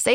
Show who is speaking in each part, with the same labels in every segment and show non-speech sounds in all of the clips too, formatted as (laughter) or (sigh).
Speaker 1: Say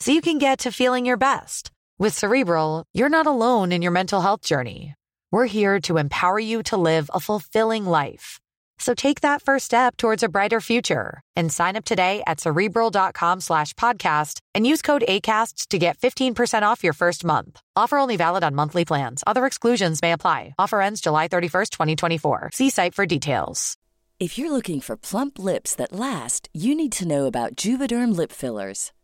Speaker 1: so you can get to feeling your best. With Cerebral, you're not alone in your mental health journey. We're here to empower you to live a fulfilling life. So take that first step towards a brighter future and sign up today at cerebral.com slash podcast and use code ACAST to get 15% off your first month. Offer only valid on monthly plans. Other exclusions may apply. Offer ends July 31st, 2024. See site for details.
Speaker 2: If you're looking for plump lips that last, you need to know about Juvederm lip fillers.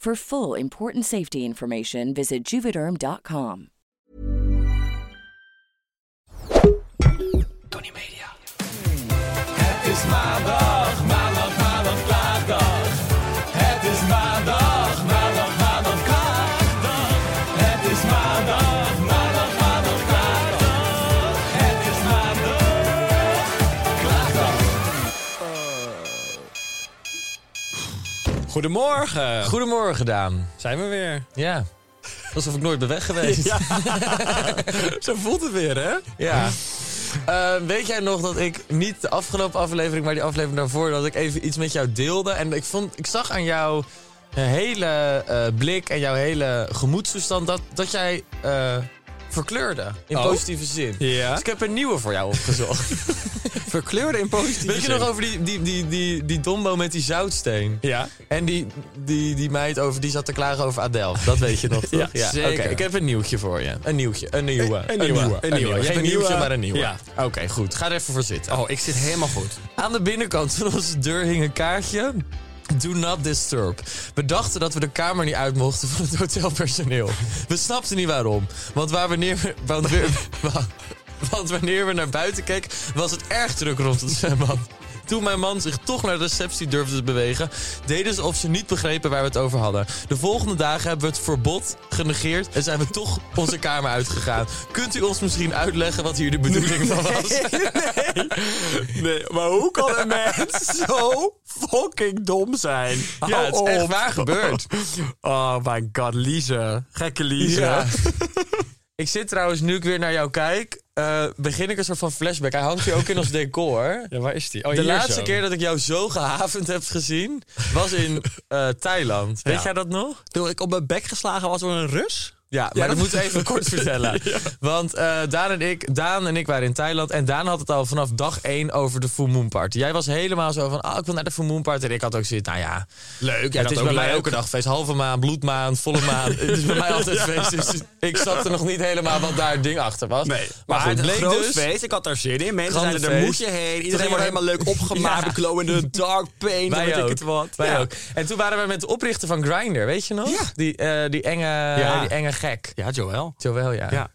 Speaker 2: For full important safety information, visit juvederm.com.
Speaker 3: Tony Media. Het is maandag, maandag, maandag, klaagdag. Het is maandag, maandag, maandag, klaagdag. Het is maandag, maandag, maandag, klaagdag. Het is maandag, klaagdag.
Speaker 4: Goedemorgen.
Speaker 5: Goedemorgen, Daan.
Speaker 4: Zijn we weer.
Speaker 5: Ja. Alsof ik nooit ben weg geweest. (laughs) Ja.
Speaker 4: Zo voelt het weer, hè?
Speaker 5: Eh, weet jij nog dat ik niet de afgelopen aflevering, maar die aflevering daarvoor, dat ik even iets met jou deelde? En ik, vond, ik zag aan jou een hele eh, blik en jouw hele gemoedstoestand dat, dat jij eh, verkleurde. In
Speaker 4: Oh.
Speaker 5: positieve zin.
Speaker 4: Ja.
Speaker 5: Dus ik heb een nieuwe voor jou opgezocht.
Speaker 4: Verkleuren in positieve
Speaker 5: weet je nog over die, die, die, die, die dombo met die zoutsteen?
Speaker 4: Ja.
Speaker 5: En die, die, die meid over, die zat te klagen over Adele. Dat weet je
Speaker 4: (laughs)
Speaker 5: nog, toch?
Speaker 4: Ja, zeker. Eh,
Speaker 5: Oké, ik heb een nieuwtje voor je. Een nieuwtje. Een nieuwe.
Speaker 4: Een nieuwe, een nieuwe. Je hebt
Speaker 5: Geen
Speaker 4: een
Speaker 5: nieuwtje,
Speaker 4: nieuwe.
Speaker 5: maar een nieuwe.
Speaker 4: Ja.
Speaker 5: Oké, goed. Ga er even voor zitten.
Speaker 4: Oh, ik zit helemaal goed.
Speaker 5: Aan de binnenkant van onze deur hing een kaartje. Do not disturb. We dachten dat we de kamer niet uit mochten van het hotelpersoneel. We snapten niet waarom. Want, waar wanneer we, want,
Speaker 4: (laughs)
Speaker 5: we- wa- (laughs) want wanneer we naar buiten keken, was het erg druk rond het zwembad. Toen mijn man zich toch naar de receptie durfde te bewegen, deden ze of ze niet begrepen waar we het over hadden. De volgende dagen hebben we het verbod genegeerd en zijn we toch onze kamer uitgegaan. Kunt u ons misschien uitleggen wat hier de bedoeling van was? (laughs)
Speaker 4: Nee, maar hoe kan een mens zo fucking dom zijn?
Speaker 5: Ja,
Speaker 4: Hou
Speaker 5: het is echt
Speaker 4: op.
Speaker 5: waar gebeurd.
Speaker 4: Oh my god, Lise. Gekke Lise.
Speaker 5: Ja. (laughs) ik zit trouwens, nu ik weer naar jou kijk, eh, begin ik een soort van flashback. Hij hangt hier ook in ons decor.
Speaker 4: Ja, waar is die? Oh,
Speaker 5: De
Speaker 4: hier
Speaker 5: laatste
Speaker 4: zo.
Speaker 5: keer dat ik jou zo gehavend heb gezien, was in eh, Thailand. Weet
Speaker 4: Ja.
Speaker 5: jij dat nog?
Speaker 3: Toen ik op mijn bek geslagen was door een Rus?
Speaker 5: Ja, maar dat, moet ik even kort
Speaker 3: (laughs)
Speaker 5: vertellen. Want eh, Daan, en ik, Daan en ik waren in Thailand. En Daan had het al vanaf dag één over de Full Moon Party. Jij was helemaal zo van, ah, ik wil naar de Full Moon Party. En ik had ook zoiets, nou ja,
Speaker 4: Leuk.
Speaker 5: Ja, het is bij mij ook
Speaker 4: elke
Speaker 5: een dag feest. Halve maan, bloedmaan,
Speaker 3: (laughs)
Speaker 5: volle maan. het is bij mij altijd feest. Dus ik snapte nog niet helemaal wat daar het ding achter was.
Speaker 4: Nee.
Speaker 5: maar
Speaker 3: Maar
Speaker 5: goed,
Speaker 3: het
Speaker 5: bleek
Speaker 3: groot
Speaker 5: dus...
Speaker 3: feest, ik had daar zin in. Mensen
Speaker 5: Grande
Speaker 3: zeiden, daar
Speaker 5: feest.
Speaker 3: moet je heen.
Speaker 5: Toen
Speaker 3: Iedereen
Speaker 5: gingen
Speaker 3: wordt
Speaker 5: we-
Speaker 3: helemaal leuk opgemaakt.
Speaker 5: (laughs) Ja.
Speaker 3: Ja. Klonende dark paint, en
Speaker 5: Wij
Speaker 3: weet ik
Speaker 5: ook.
Speaker 3: het wat.
Speaker 5: Wij
Speaker 3: Ja.
Speaker 5: ook. En toen waren we met de oprichter van Grindr, weet je nog?
Speaker 3: Ja.
Speaker 5: Die, eh, die, enge,
Speaker 3: Ja.
Speaker 5: die enge gek.
Speaker 3: Ja, Joël.
Speaker 5: Jawel, ja.
Speaker 3: Ja.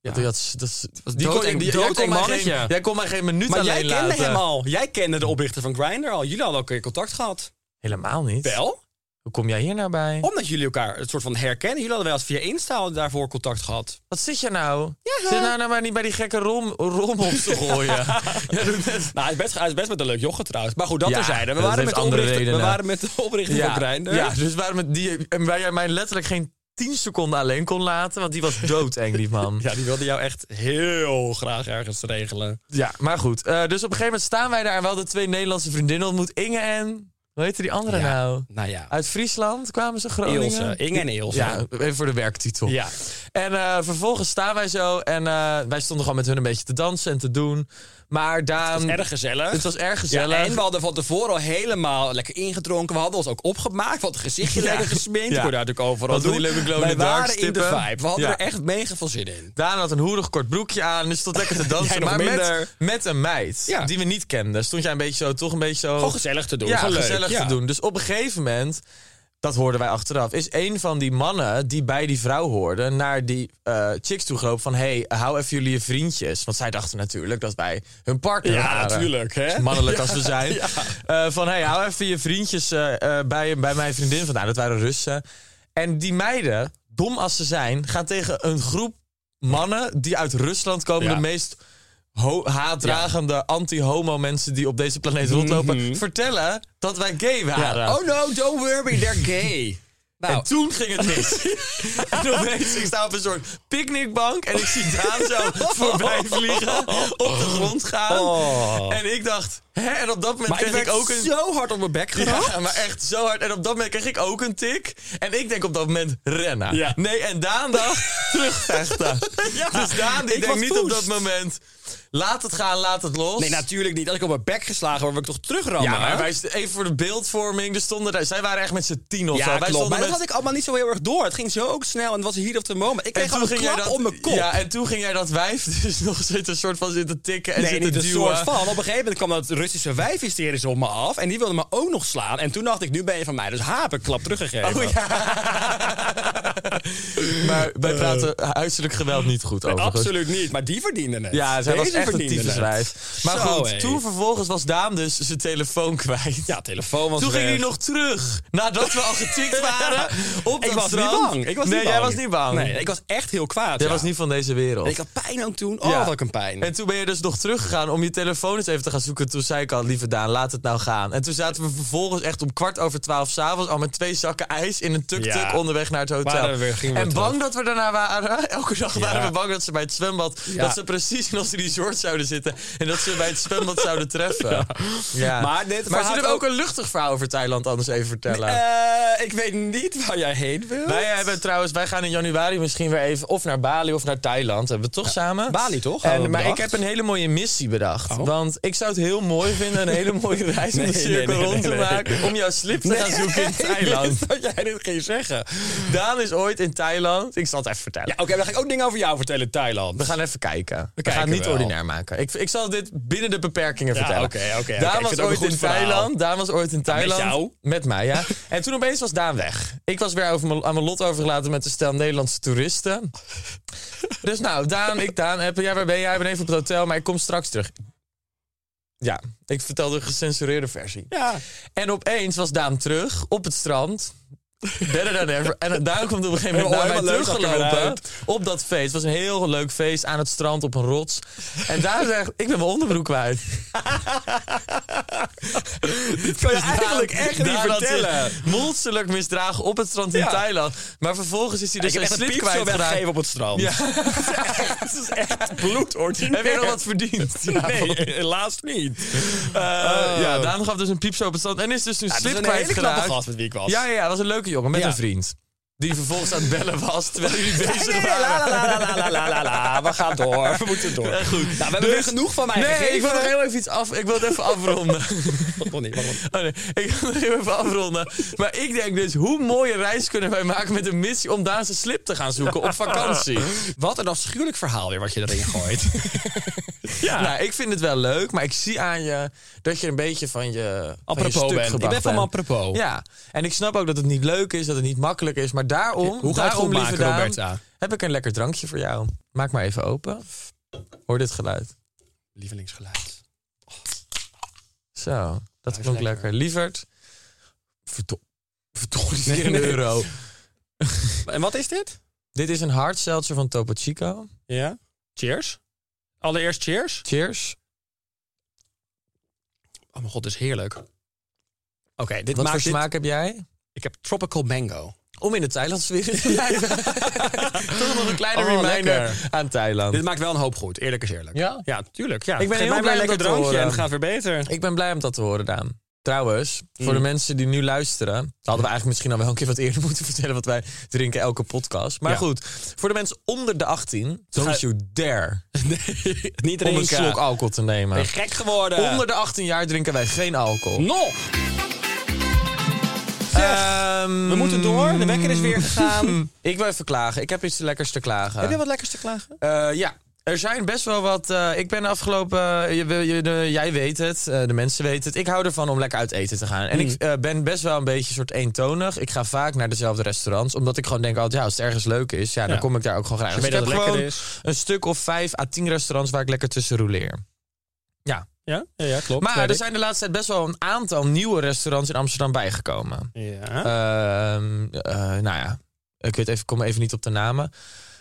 Speaker 5: Ja, die had- dat is-
Speaker 3: was
Speaker 5: die
Speaker 3: doodeng-
Speaker 5: kon- die- jij
Speaker 3: doodeng
Speaker 5: kon mij
Speaker 3: mannetje.
Speaker 5: geen- Jij kon mij geen minuut
Speaker 3: Maar
Speaker 5: alleen
Speaker 3: jij kende
Speaker 5: laten.
Speaker 3: hem al. Jij kende de oprichter van Grindr al. Jullie hadden ook een contact gehad.
Speaker 5: Helemaal niet.
Speaker 3: Wel,
Speaker 5: Hoe kom jij hier nou bij?
Speaker 3: omdat jullie elkaar een soort van herkennen. Jullie hadden wel eens via Insta al daarvoor contact gehad.
Speaker 5: Wat zit je nou? Zit nou, nou maar niet bij die gekke rom, rom op te gooien.
Speaker 3: (laughs)
Speaker 5: Jij
Speaker 4: (laughs)
Speaker 5: doet net-
Speaker 3: Nou, hij is best, hij is best met een leuk joch trouwens. Maar goed, dat
Speaker 5: Ja,
Speaker 3: terzijde. We
Speaker 5: dat
Speaker 3: waren,
Speaker 5: heeft
Speaker 3: met de
Speaker 5: andere
Speaker 3: oprichter, we
Speaker 5: redenen.
Speaker 3: waren met de oprichter van Grindr.
Speaker 5: ja, dus waarom het die en waar jij mij letterlijk geen 10 seconden alleen kon laten. Want die was doodeng, die man.
Speaker 4: (laughs) (laughs) Ja, die wilde jou echt heel graag ergens regelen.
Speaker 5: Ja, maar goed. Eh, dus op een gegeven moment staan wij daar en we hadden twee Nederlandse vriendinnen ontmoet. Inge en... Hoe heette die andere nou?
Speaker 4: Nou ja,
Speaker 5: Uit Friesland kwamen ze, Groningen.
Speaker 4: Ilse. Inge en Ilse.
Speaker 5: Ja, even voor de werktitel.
Speaker 4: Ja.
Speaker 5: En eh, vervolgens staan wij zo en eh, wij stonden gewoon met hun een beetje te dansen en te doen. Maar Daan...
Speaker 4: Het was erg gezellig.
Speaker 5: ehm, Het was erg gezellig.
Speaker 4: Ja, en we hadden van tevoren al helemaal lekker ingedronken. We hadden ons ook opgemaakt. We hadden het gezichtje
Speaker 5: Ja.
Speaker 4: lekker gesminkt.
Speaker 5: Ja.
Speaker 4: Ja. Kon daar natuurlijk overal
Speaker 5: Wat van
Speaker 4: doen.
Speaker 5: die leuke glow in
Speaker 4: Wij
Speaker 5: the dark
Speaker 4: waren in de
Speaker 5: stippen.
Speaker 4: vibe. We hadden
Speaker 5: Ja. Oh.
Speaker 4: er echt mega veel zin in.
Speaker 5: Daan had een hoerig kort broekje aan en dus stond lekker te dansen.
Speaker 4: (laughs) Jij nog
Speaker 5: maar met,
Speaker 4: minder.
Speaker 5: met een meid
Speaker 4: Ja.
Speaker 5: die we niet kenden. Stond jij een beetje zo, toch een beetje zo...
Speaker 4: Gewoon gezellig te doen.
Speaker 5: Ja,
Speaker 4: Gewoon leuk.
Speaker 5: gezellig
Speaker 4: Ja.
Speaker 5: te doen. Dus op een gegeven moment, dat hoorden wij achteraf, is een van die mannen die bij die vrouw hoorde naar die eh, chicks toe gelopen van hey, hou even jullie je vriendjes. Want zij dachten natuurlijk dat wij hun partner
Speaker 4: Ja,
Speaker 5: waren.
Speaker 4: natuurlijk, hè?
Speaker 5: Zo Mannelijk
Speaker 4: (laughs)
Speaker 5: als we zijn. Eh, van hey, hou even je vriendjes eh, eh, bij, bij mijn vriendin vandaan. Dat waren Russen. En die meiden, dom als ze zijn, gaan tegen een groep mannen die uit Rusland komen,
Speaker 4: Ja.
Speaker 5: de meest ho- haatdragende anti-homo mensen die op deze planeet rondlopen, vertellen dat wij gay waren.
Speaker 4: Oh no, don't worry, they're gay. Nou,
Speaker 5: En toen ging het
Speaker 4: (laughs)
Speaker 5: mis. en opeens, ik sta op een soort picknickbank en ik zie Daan zo voorbij vliegen, op de grond gaan.
Speaker 4: Oh.
Speaker 5: En ik dacht, hè? En op dat moment
Speaker 4: maar ik
Speaker 5: kreeg
Speaker 4: werd
Speaker 5: ik ook een...
Speaker 4: zo hard op mijn bek geraakt.
Speaker 5: Ja, maar echt zo hard. En op dat moment kreeg ik ook een tik. En ik denk op dat moment rennen.
Speaker 4: Ja.
Speaker 5: Nee, en Daan dacht
Speaker 4: (laughs)
Speaker 5: terugvechten. Dus Daan die
Speaker 4: ik
Speaker 5: denkt
Speaker 4: was
Speaker 5: niet op dat
Speaker 4: woest.
Speaker 5: moment... Laat het gaan, laat het los.
Speaker 4: Nee, nou, natuurlijk niet. Als ik op mijn bek geslagen word, word ik toch terugrammen.
Speaker 5: Ja, maar
Speaker 4: hè?
Speaker 5: wij, st- even voor de beeldvorming. Er stonden, daar- zij waren echt met z'n tien of
Speaker 4: Ja,
Speaker 5: zo. Wij
Speaker 4: klopt.
Speaker 5: stonden
Speaker 4: Maar dat
Speaker 5: met-
Speaker 4: had ik allemaal niet zo heel erg door. Het ging zo ook snel en het was hier op de moment. Ik
Speaker 5: En
Speaker 4: kreeg gewoon een klap
Speaker 5: dat,
Speaker 4: op mijn kop.
Speaker 5: Ja, en toen ging jij dat wijf (laughs) dus nog zitten, soort van zitten tikken en
Speaker 4: nee,
Speaker 5: zitten
Speaker 4: niet een
Speaker 5: duwen.
Speaker 4: soort van. Op een gegeven moment kwam dat Russische wijf hysterisch op me af. En die wilde me ook nog slaan. En toen dacht ik, nu ben je van mij. Dus haap, ik klap teruggegeven.
Speaker 5: Oh,
Speaker 4: (laughs)
Speaker 5: ja. maar wij praten huiselijk geweld niet goed
Speaker 4: Eh. Nee,
Speaker 5: over.
Speaker 4: absoluut niet. Maar die verdiende het.
Speaker 5: Ja, zij was
Speaker 4: Deze
Speaker 5: echt een
Speaker 4: verdiende het.
Speaker 5: tyfuswijf. Maar
Speaker 4: Zo,
Speaker 5: goed,
Speaker 4: hé.
Speaker 5: toen vervolgens was Daan dus zijn telefoon kwijt.
Speaker 4: Ja, telefoon was
Speaker 5: Toen ging
Speaker 4: weg.
Speaker 5: hij nog terug, nadat we al
Speaker 4: (laughs)
Speaker 5: getikt waren op
Speaker 4: ik
Speaker 5: dat
Speaker 4: was
Speaker 5: strand.
Speaker 4: niet bang. Ik was
Speaker 5: nee,
Speaker 4: niet
Speaker 5: jij
Speaker 4: bang.
Speaker 5: was niet bang.
Speaker 4: Nee, ik was echt heel kwaad.
Speaker 5: Jij
Speaker 4: ja.
Speaker 5: was niet van deze wereld.
Speaker 4: Ik had pijn ook toen. Oh,
Speaker 5: Ja.
Speaker 4: wat had ik een pijn.
Speaker 5: En toen ben je dus nog teruggegaan om je telefoon eens even te gaan zoeken. Toen zei ik al, lieve Daan, laat het nou gaan. En toen zaten we vervolgens echt om kwart over twaalf s'avonds... al met twee zakken ijs in een tuk-tuk
Speaker 4: Ja.
Speaker 5: onderweg naar het hotel.
Speaker 4: Waren we weer- gingen we
Speaker 5: en
Speaker 4: terug.
Speaker 5: bang dat we daarna waren. Elke dag waren we bang dat ze bij het zwembad...
Speaker 4: Ja.
Speaker 5: dat ze precies nog in die resort zouden zitten... en dat ze bij het zwembad zouden treffen. Ja.
Speaker 4: Maar dit verhaal
Speaker 5: zullen we
Speaker 4: had
Speaker 5: ook een luchtig verhaal over Thailand anders even vertellen?
Speaker 4: Eh, ik weet niet waar jij heen wil.
Speaker 5: Wij hebben trouwens, wij gaan in januari misschien weer even of naar Bali of naar Thailand. Hebben we toch samen?
Speaker 4: Bali toch? Hadden
Speaker 5: En,
Speaker 4: we
Speaker 5: maar ik
Speaker 4: bedacht. Oh.
Speaker 5: heb een hele mooie missie bedacht. Want ik zou het heel mooi vinden, een hele mooie reis om
Speaker 4: (laughs) Nee,
Speaker 5: de
Speaker 4: nee,
Speaker 5: cirkel
Speaker 4: nee,
Speaker 5: rond te
Speaker 4: nee, nee.
Speaker 5: maken. Om jouw slip te gaan zoeken in
Speaker 4: (laughs) Ik
Speaker 5: Thailand.
Speaker 4: wist dat jij dit ging zeggen.
Speaker 5: Daan is ooit in Thailand. Ik zal het even vertellen.
Speaker 4: Ja, oké, dan ga ik ook dingen over jou vertellen in Thailand.
Speaker 5: We gaan even kijken. We, gaan
Speaker 4: kijken
Speaker 5: het niet
Speaker 4: wel.
Speaker 5: ordinair maken. Ik, ik zal dit binnen de beperkingen
Speaker 4: Ja,
Speaker 5: vertellen.
Speaker 4: oké, oké, oké. Ik
Speaker 5: Daan
Speaker 4: vind
Speaker 5: was
Speaker 4: het ook een
Speaker 5: ooit
Speaker 4: goed
Speaker 5: in
Speaker 4: verhaal.
Speaker 5: Thailand. Daan was ooit in Thailand.
Speaker 4: jou?
Speaker 5: Met mij,
Speaker 4: (laughs)
Speaker 5: ja. en toen opeens was Daan weg. Ik was weer over mijn- aan mijn lot overgelaten met een stel Nederlandse toeristen. dus nou, Daan, ik, Daan, appen. Ja, waar ben jij? Ik ben even op het hotel, maar ik kom straks terug. Ja, ik vertel de gecensureerde versie.
Speaker 4: Ja.
Speaker 5: En opeens was Daan terug op het strand. Better than ever. En Daan komt op een gegeven moment
Speaker 4: Oh,
Speaker 5: naar mij
Speaker 4: helemaal leuk, zag ik
Speaker 5: teruggelopen
Speaker 4: eruit.
Speaker 5: op dat feest. Het was een heel leuk feest aan het strand op een rots. En Daan zegt, ik ben mijn onderbroek kwijt.
Speaker 4: Dit kan je
Speaker 5: (laughs) Dus Daan-
Speaker 4: eigenlijk echt niet
Speaker 5: Daan had
Speaker 4: vertellen.
Speaker 5: zich monsterlijk misdragen op het strand in
Speaker 4: Ja.
Speaker 5: Thailand. Maar vervolgens is hij dus
Speaker 4: ik heb
Speaker 5: zijn
Speaker 4: echt een
Speaker 5: slip
Speaker 4: piepshow
Speaker 5: kwijtgeraakt.
Speaker 4: weggegeven op het strand.
Speaker 5: Ja.
Speaker 4: (laughs) Het is echt bloedordinair.
Speaker 5: Heb je nog wat verdiend? Ja, want-
Speaker 4: (laughs) Nee, (laughs) helaas niet.
Speaker 5: Eh, ja, Daan gaf dus een piepshow op het strand en is dus zijn
Speaker 4: Ja, dat
Speaker 5: slip
Speaker 4: is een hele knappe
Speaker 5: kwijtgeraakt.
Speaker 4: gast met wie ik was.
Speaker 5: Ja,
Speaker 4: (laughs)
Speaker 5: ja, ja, dat was een leuke jongen met
Speaker 4: Ja.
Speaker 5: een vriend. Die vervolgens aan het bellen was terwijl jullie bezig
Speaker 4: Nee, la,
Speaker 5: waren.
Speaker 4: la, la, la, la, la, la, la. We gaan door. We moeten door.
Speaker 5: Eh, goed.
Speaker 4: Nou, we hebben
Speaker 5: Dus-
Speaker 4: weer genoeg van mij
Speaker 5: Nee,
Speaker 4: gegeven.
Speaker 5: ik wil nog heel even iets af. Ik wil het even
Speaker 4: (laughs)
Speaker 5: afronden.
Speaker 4: Nog niet, nog niet.
Speaker 5: Oh nee, ik wil nog heel even afronden. Maar ik denk dus, hoe mooie reis kunnen wij maken met een missie om Daan zijn slip te gaan zoeken op vakantie?
Speaker 4: Wat een afschuwelijk verhaal weer wat je erin gooit. ja.
Speaker 5: Nou, ik vind het wel leuk, maar ik zie aan je dat je een beetje van je, van je
Speaker 4: Apropos
Speaker 5: stuk
Speaker 4: bent. Ik
Speaker 5: gebracht
Speaker 4: ben van
Speaker 5: bent.
Speaker 4: apropos.
Speaker 5: Ja, en ik snap ook dat het niet leuk is, dat het niet makkelijk is. Maar daarom,
Speaker 4: Hoe ga je het
Speaker 5: daarom,
Speaker 4: goed
Speaker 5: lieve
Speaker 4: maken,
Speaker 5: Daan,
Speaker 4: Roberta?
Speaker 5: heb ik een lekker drankje voor jou. Maak maar even open. Hoor dit geluid.
Speaker 4: Lievelingsgeluid.
Speaker 5: Zo, dat
Speaker 4: is
Speaker 5: klonk
Speaker 4: lekker.
Speaker 5: lekker. Lievert, verdo- verdorie,
Speaker 4: Nee,
Speaker 5: weer een
Speaker 4: nee.
Speaker 5: euro.
Speaker 4: En wat is dit?
Speaker 5: Dit is een hard seltzer van Topo Chico.
Speaker 4: Ja. Cheers. Allereerst cheers.
Speaker 5: Cheers.
Speaker 4: Oh mijn god, dit is heerlijk. Oké, dit
Speaker 5: Wat
Speaker 4: maakt
Speaker 5: voor
Speaker 4: dit-
Speaker 5: smaak heb jij?
Speaker 4: Ik heb tropical mango.
Speaker 5: om in de Thailandse wereld (laughs) te blijven. Toch nog een kleine
Speaker 4: Oh,
Speaker 5: reminder
Speaker 4: lekker.
Speaker 5: aan Thailand.
Speaker 4: Dit maakt wel een hoop goed, eerlijk is eerlijk.
Speaker 5: Oh. Ja?
Speaker 4: Ja, tuurlijk. Ja.
Speaker 5: Ik ben
Speaker 4: Geef
Speaker 5: heel
Speaker 4: mij maar
Speaker 5: blij
Speaker 4: een
Speaker 5: om dat
Speaker 4: lekker
Speaker 5: eh, te
Speaker 4: drankje
Speaker 5: horen.
Speaker 4: en het gaat weer
Speaker 5: (laughs)
Speaker 4: beter.
Speaker 5: Ik ben blij om dat te horen, Daan. Trouwens, voor de mensen die nu luisteren, hadden we eigenlijk misschien al wel een keer wat eerder (laughs) moeten vertellen, want wij drinken elke podcast. Maar
Speaker 4: Ja.
Speaker 5: goed, voor de mensen onder de 18,
Speaker 4: Ga-
Speaker 5: don't you (laughs) dare
Speaker 4: Niet
Speaker 5: om
Speaker 4: drinken.
Speaker 5: een slok alcohol te nemen.
Speaker 4: Oh, Ben je gek geworden?
Speaker 5: Onder de 18 jaar drinken wij geen alcohol.
Speaker 4: Nog! Zeg,
Speaker 5: Ehm,
Speaker 4: we moeten door. De wekker is weer
Speaker 5: (laughs)
Speaker 4: gegaan.
Speaker 5: Ik wil even klagen. Ik heb iets lekkers te klagen.
Speaker 4: Heb je wat lekkers te klagen?
Speaker 5: Eh, ja. Er zijn best wel wat. eh, ik ben de afgelopen. eh, je, wil- je, de- jij weet het, eh, de mensen weten het. Ik hou ervan om lekker uit eten te gaan. En
Speaker 4: Mm.
Speaker 5: ik eh, ben best wel een beetje soort eentonig. Ik ga vaak naar dezelfde restaurants. Omdat ik gewoon denk: altijd, ja, als het ergens leuk is, ja, dan
Speaker 4: Ja.
Speaker 5: kom ik daar ook gewoon graag.
Speaker 4: Je
Speaker 5: Dus
Speaker 4: weet
Speaker 5: ik
Speaker 4: dat het
Speaker 5: heb
Speaker 4: lekker
Speaker 5: gewoon
Speaker 4: is.
Speaker 5: een stuk of vijf à tien restaurants waar ik lekker tussen roleer. Ja.
Speaker 4: Ja, ja, ja, klopt.
Speaker 5: Maar
Speaker 4: weet
Speaker 5: er
Speaker 4: ik.
Speaker 5: zijn de laatste tijd best wel een aantal nieuwe restaurants in Amsterdam bijgekomen.
Speaker 4: Ja.
Speaker 5: Ehm, eh, nou ja, ik weet even, kom even niet op de namen.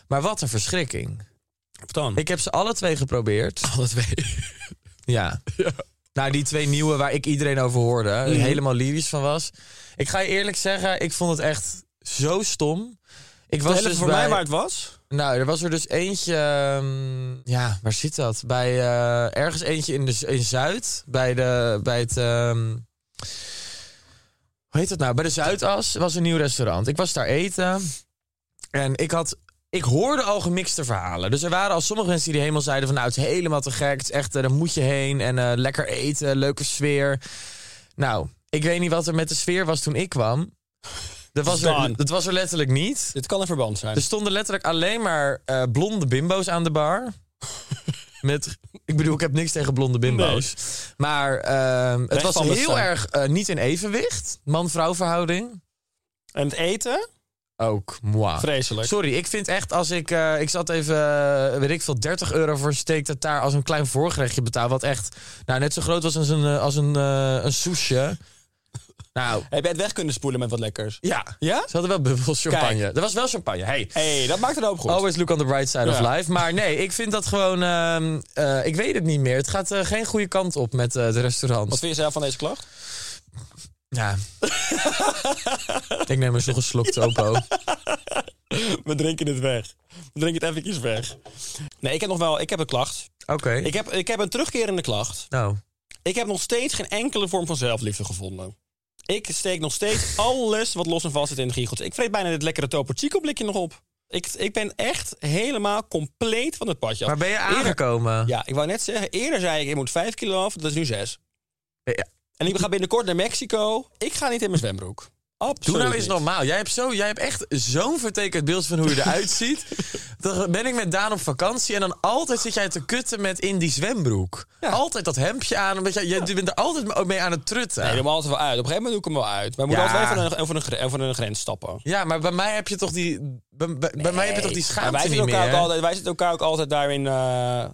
Speaker 5: Maar wat een verschrikking.
Speaker 4: Wat dan?
Speaker 5: Ik heb ze alle twee geprobeerd.
Speaker 4: (laughs) alle twee.
Speaker 5: Ja. Nou, die twee nieuwe waar ik iedereen over hoorde,
Speaker 4: Mhm.
Speaker 5: helemaal lyrisch van was. Ik ga je eerlijk zeggen, ik vond het echt zo stom. Ik was
Speaker 4: Was
Speaker 5: dus
Speaker 4: voor
Speaker 5: bij,
Speaker 4: mij waar het was?
Speaker 5: Nou, er was er dus eentje. ehm, ja, waar zit dat? Bij eh, ergens eentje in, de, Z- in Zuid. Bij, de, bij het. ehm, hoe heet dat nou? Bij de Zuidas was een nieuw restaurant. Ik was daar eten. En ik had. Ik hoorde al gemixte verhalen. Dus er waren al sommige mensen die helemaal zeiden: van nou, het is helemaal te gek. Het is echt, eh, daar moet je heen. En eh, lekker eten, leuke sfeer. Nou, ik weet niet wat er met de sfeer was toen ik kwam. Dat was, er,
Speaker 4: Done.
Speaker 5: dat was er letterlijk niet.
Speaker 4: Dit kan een verband zijn.
Speaker 5: Er stonden letterlijk alleen maar eh, blonde bimbo's aan de bar. Met, ik bedoel, ik heb niks tegen blonde bimbo's. Maar ehm, het
Speaker 4: Weg
Speaker 5: was
Speaker 4: van de
Speaker 5: heel
Speaker 4: stem.
Speaker 5: erg eh, niet in evenwicht. Man-vrouw verhouding.
Speaker 4: En het eten?
Speaker 5: Ook, moi.
Speaker 4: Vreselijk.
Speaker 5: Sorry, ik vind echt als ik... eh, ik zat even, eh, weet ik veel, 30 euro voor een steak tartaar als een klein voorgerechtje betaal. Wat echt nou, net zo groot was als een, eh, als een, eh, een soesje. Nou,
Speaker 4: Heb je het weg kunnen spoelen met wat lekkers?
Speaker 5: ja.
Speaker 4: Ja?
Speaker 5: Ze hadden wel bubbels champagne. Er was wel champagne. Hey.
Speaker 4: hey, dat maakt het ook goed.
Speaker 5: Always look on the bright side of
Speaker 4: Ja.
Speaker 5: life. Maar nee, ik vind dat gewoon... ehm, eh, ik weet het niet meer. Het gaat eh, geen goede kant op met eh de restaurant.
Speaker 4: Wat vind je zelf van deze klacht?
Speaker 5: Ja. ik neem eens nog een slok
Speaker 4: (laughs)
Speaker 5: topo.
Speaker 4: (laughs) We drinken het weg. We drinken het eventjes weg. Nee, ik heb nog wel... Ik heb een klacht.
Speaker 5: Oké.
Speaker 4: Ik heb, ik heb een terugkerende klacht.
Speaker 5: Nou,
Speaker 4: Ik heb nog steeds geen enkele vorm van zelfliefde gevonden. Ik steek nog (laughs) steeds alles wat los en vast zit in de giegels. Ik vreet bijna dit lekkere Topo Chico blikje nog op. Ik, ik ben echt helemaal compleet van het padje af.
Speaker 5: maar ben je
Speaker 4: Eerder-
Speaker 5: aangekomen?
Speaker 4: Ja, ik wou net zeggen, eerder zei ik, ik moet 5 kilo af, dat is nu 6.
Speaker 5: Ja.
Speaker 4: En ik ga binnenkort naar Mexico. Ik ga niet in mijn zwembroek. Absoluut
Speaker 5: Doe nou eens
Speaker 4: niet.
Speaker 5: normaal. Jij hebt, zo, jij hebt echt zo'n vertekend beeld van hoe je
Speaker 4: (laughs)
Speaker 5: eruit ziet. Dan ben ik met Daan op vakantie en dan altijd zit jij te kutten met in die zwembroek. Altijd dat hemdje aan. Omdat jij, jij bent er altijd mee aan het trutten.
Speaker 4: Nee, doe hem altijd wel uit. Op een gegeven moment doe ik hem wel uit. Maar we
Speaker 5: Ja.
Speaker 4: moeten altijd wel even een, over, een, gre- over een grens stappen.
Speaker 5: Ja, maar bij mij heb je toch die, bij, bij- bij mij heb je toch die
Speaker 4: Maar
Speaker 5: schaamte
Speaker 4: wij
Speaker 5: niet
Speaker 4: zitten, elkaar
Speaker 5: meer.
Speaker 4: ook
Speaker 5: hè?
Speaker 4: altijd, wij zitten elkaar ook altijd daarin. eh, eh,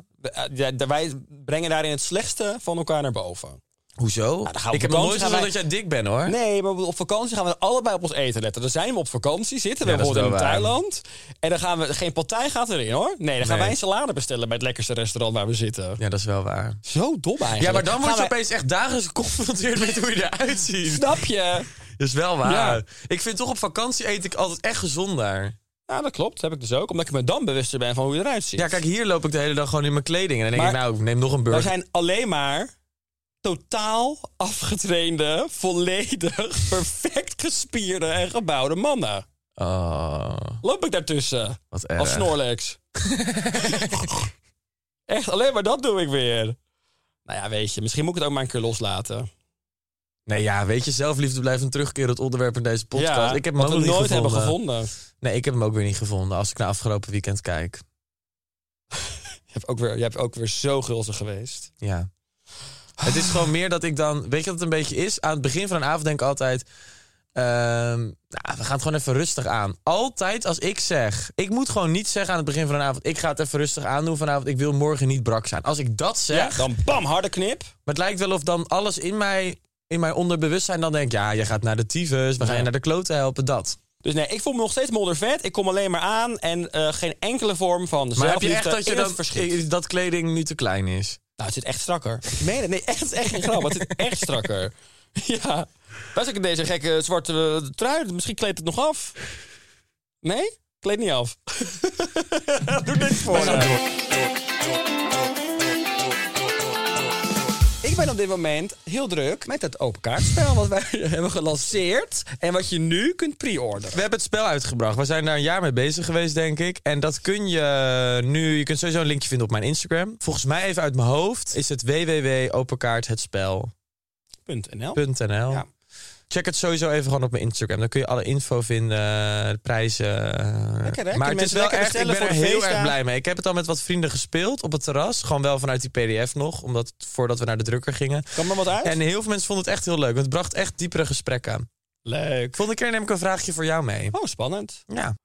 Speaker 4: ja, d- wij brengen daarin het slechtste van elkaar naar boven.
Speaker 5: Hoezo?
Speaker 4: Nou, dan gaan we
Speaker 5: ik heb
Speaker 4: op
Speaker 5: nog nooit
Speaker 4: vakantie, gaan
Speaker 5: gezegd dat
Speaker 4: wij-
Speaker 5: jij dik bent, hoor.
Speaker 4: Nee, maar op vakantie gaan we allebei op ons eten letten. Dan zijn we op vakantie, zitten we
Speaker 5: Ja, dat is
Speaker 4: bijvoorbeeld in
Speaker 5: wel waar.
Speaker 4: Thailand. En dan gaan we. Geen partij gaat erin hoor. Nee, dan gaan
Speaker 5: Nee.
Speaker 4: wij een salade bestellen bij het lekkerste restaurant waar we zitten.
Speaker 5: Ja, dat is wel waar.
Speaker 4: Zo dom eigenlijk.
Speaker 5: Ja, maar dan word je
Speaker 4: Gaan wij-
Speaker 5: opeens echt dagelijks geconfronteerd met hoe je eruit ziet.
Speaker 4: Snap je?
Speaker 5: Dat is wel waar.
Speaker 4: Ja.
Speaker 5: Ik vind toch op vakantie eet ik altijd echt gezonder.
Speaker 4: Nou, dat klopt. heb ik dus ook. Omdat ik me dan bewuster ben van hoe je eruit ziet.
Speaker 5: Ja, kijk, hier loop ik de hele dag gewoon in mijn kleding. En dan denk
Speaker 4: Maar-
Speaker 5: ik, nou, ik neem nog een
Speaker 4: Wij
Speaker 5: burger.
Speaker 4: zijn alleen maar totaal afgetrainde, volledig (laughs) perfect gespierde en gebouwde mannen.
Speaker 5: Oh,
Speaker 4: Loop ik daartussen
Speaker 5: wat erg.
Speaker 4: als
Speaker 5: (laughs)
Speaker 4: Snorlax. Echt, alleen maar dat doe ik weer. Nou ja, weet je, misschien moet ik het ook maar een keer loslaten.
Speaker 5: Nee, ja, weet je, zelfliefde blijft een terugkerend onderwerp in deze podcast.
Speaker 4: ja,
Speaker 5: ik heb hem
Speaker 4: wat
Speaker 5: ook
Speaker 4: we
Speaker 5: nog
Speaker 4: nooit
Speaker 5: niet
Speaker 4: hebben gevonden.
Speaker 5: Nee, ik heb hem ook weer niet gevonden als ik naar afgelopen weekend kijk.
Speaker 4: Je hebt ook weer, je hebt ook weer zo gulzig geweest.
Speaker 5: Ja. Het is gewoon meer dat ik dan... Weet je wat het een beetje is? Aan het begin van een avond denk ik altijd... ehm, nou, we gaan het gewoon even rustig aan. Altijd als ik zeg... Ik moet gewoon niet zeggen aan het begin van een avond... Ik ga het even rustig aandoen vanavond. Ik wil morgen niet brak zijn. Als ik dat zeg...
Speaker 4: Ja, dan bam, harde knip.
Speaker 5: Maar het lijkt wel of dan alles in mij... In mijn onderbewustzijn dan denk Ja, je gaat naar de tyfus. We gaan je naar de kloten helpen. Dat.
Speaker 4: Dus nee, ik voel me nog steeds moddervet. Ik kom alleen maar aan en eh, geen enkele vorm van
Speaker 5: Maar heb je echt
Speaker 4: zelfliefde
Speaker 5: dat je
Speaker 4: in
Speaker 5: dan,
Speaker 4: het verschiet.
Speaker 5: dat kleding nu te klein is?
Speaker 4: Nou, het zit echt strakker. (laughs) Ik meen het. Nee, echt, het is echt geen grap. maar Het zit echt strakker. Ja. Wij ik in deze gekke zwarte eh, trui. Misschien kleedt het nog af. Nee? Kleedt niet af. (laughs) Doe niks voor. Ik ben op dit moment heel druk met het open kaartspel wat wij (laughs) hebben gelanceerd. En wat je nu kunt pre-orderen.
Speaker 5: We hebben het spel uitgebracht. We zijn daar een jaar mee bezig geweest, denk ik. En dat kun je nu... Je kunt sowieso een linkje vinden op mijn Instagram. Volgens mij even uit mijn hoofd is het www.openkaarthetspel.nl.
Speaker 4: .nl. Ja.
Speaker 5: Check het sowieso even gewoon op mijn Instagram. Dan kun je alle info vinden, eh, de prijzen.
Speaker 4: Lekker, hè?
Speaker 5: Maar
Speaker 4: Kunnen
Speaker 5: het is
Speaker 4: mensen
Speaker 5: wel
Speaker 4: lekker
Speaker 5: echt, ik
Speaker 4: bestellen
Speaker 5: ben er
Speaker 4: voor de
Speaker 5: heel erg
Speaker 4: feestdagen?
Speaker 5: blij mee. Ik heb het al met wat vrienden gespeeld op het terras. Gewoon wel vanuit die PDF nog, omdat, voordat we naar de drukker gingen.
Speaker 4: Kan er wat uit?
Speaker 5: En heel veel mensen vonden het echt heel leuk. Want het bracht echt diepere gesprekken aan.
Speaker 4: Leuk.
Speaker 5: Volgende keer neem ik een vraagje voor jou mee.
Speaker 4: Oh, spannend.
Speaker 5: Ja.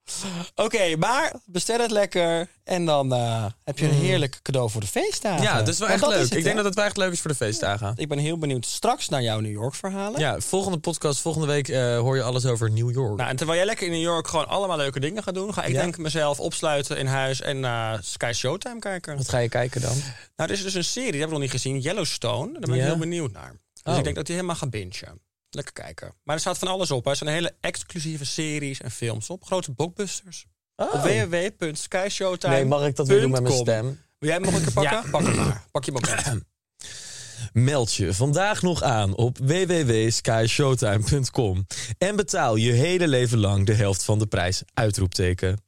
Speaker 4: Oké, maar bestel het lekker. En dan eh, heb je een heerlijk cadeau voor de feestdagen.
Speaker 5: Mm. Ja, dat is wel
Speaker 4: Want
Speaker 5: echt leuk.
Speaker 4: is het,
Speaker 5: ik denk
Speaker 4: hè?
Speaker 5: dat het wel echt leuk is voor de feestdagen.
Speaker 4: Ik ben heel benieuwd straks naar jouw New York verhalen.
Speaker 5: Ja, volgende podcast, volgende week eh, hoor je alles over New York.
Speaker 4: Nou, en terwijl jij lekker in New York gewoon allemaal leuke dingen gaat doen, ga ik
Speaker 5: Ja.
Speaker 4: denk ik mezelf opsluiten in huis en naar Sky Showtime kijken.
Speaker 5: Wat ga je kijken dan?
Speaker 4: Nou, er is dus een serie, die hebben we nog niet gezien, Yellowstone. Daar ben
Speaker 5: Ja.
Speaker 4: ik heel benieuwd naar. Dus
Speaker 5: Oh.
Speaker 4: ik denk dat die helemaal gaat bingen. Lekker kijken. Maar er staat van alles op. hè. Er zijn hele exclusieve series en films op. Grote blockbusters. Op www.skyshowtime.com
Speaker 5: Nee, mag ik dat weer doen met mijn stem?
Speaker 4: Wil jij hem nog een keer pakken?
Speaker 5: Ja.
Speaker 4: Pak hem maar. Pak je moment. (clears throat)
Speaker 5: Meld je vandaag nog aan op www.skyshowtime.com en betaal je hele leven lang de helft van de prijs. Uitroepteken.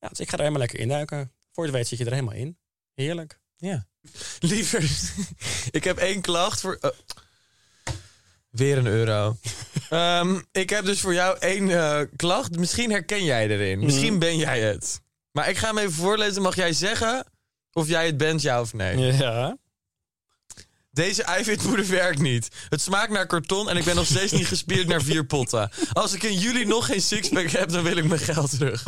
Speaker 4: Ja, dus ik ga er helemaal lekker induiken. Voor je het weet zit je er helemaal in. Heerlijk.
Speaker 5: Ja. (laughs) Liever, ik heb één klacht voor. eh, weer een (laughs) euro. Ehm, ik heb dus voor jou één eh, klacht. Misschien herken jij erin. Misschien ben jij het. Maar ik ga hem even voorlezen. Mag jij zeggen of jij het bent, ja of nee?
Speaker 4: Ja.
Speaker 5: Deze eiwitpoeder werkt niet. Het smaakt naar karton en ik ben nog steeds niet gespierd naar vier potten. Als ik in juli nog geen sixpack heb, dan wil ik mijn geld (laughs) terug.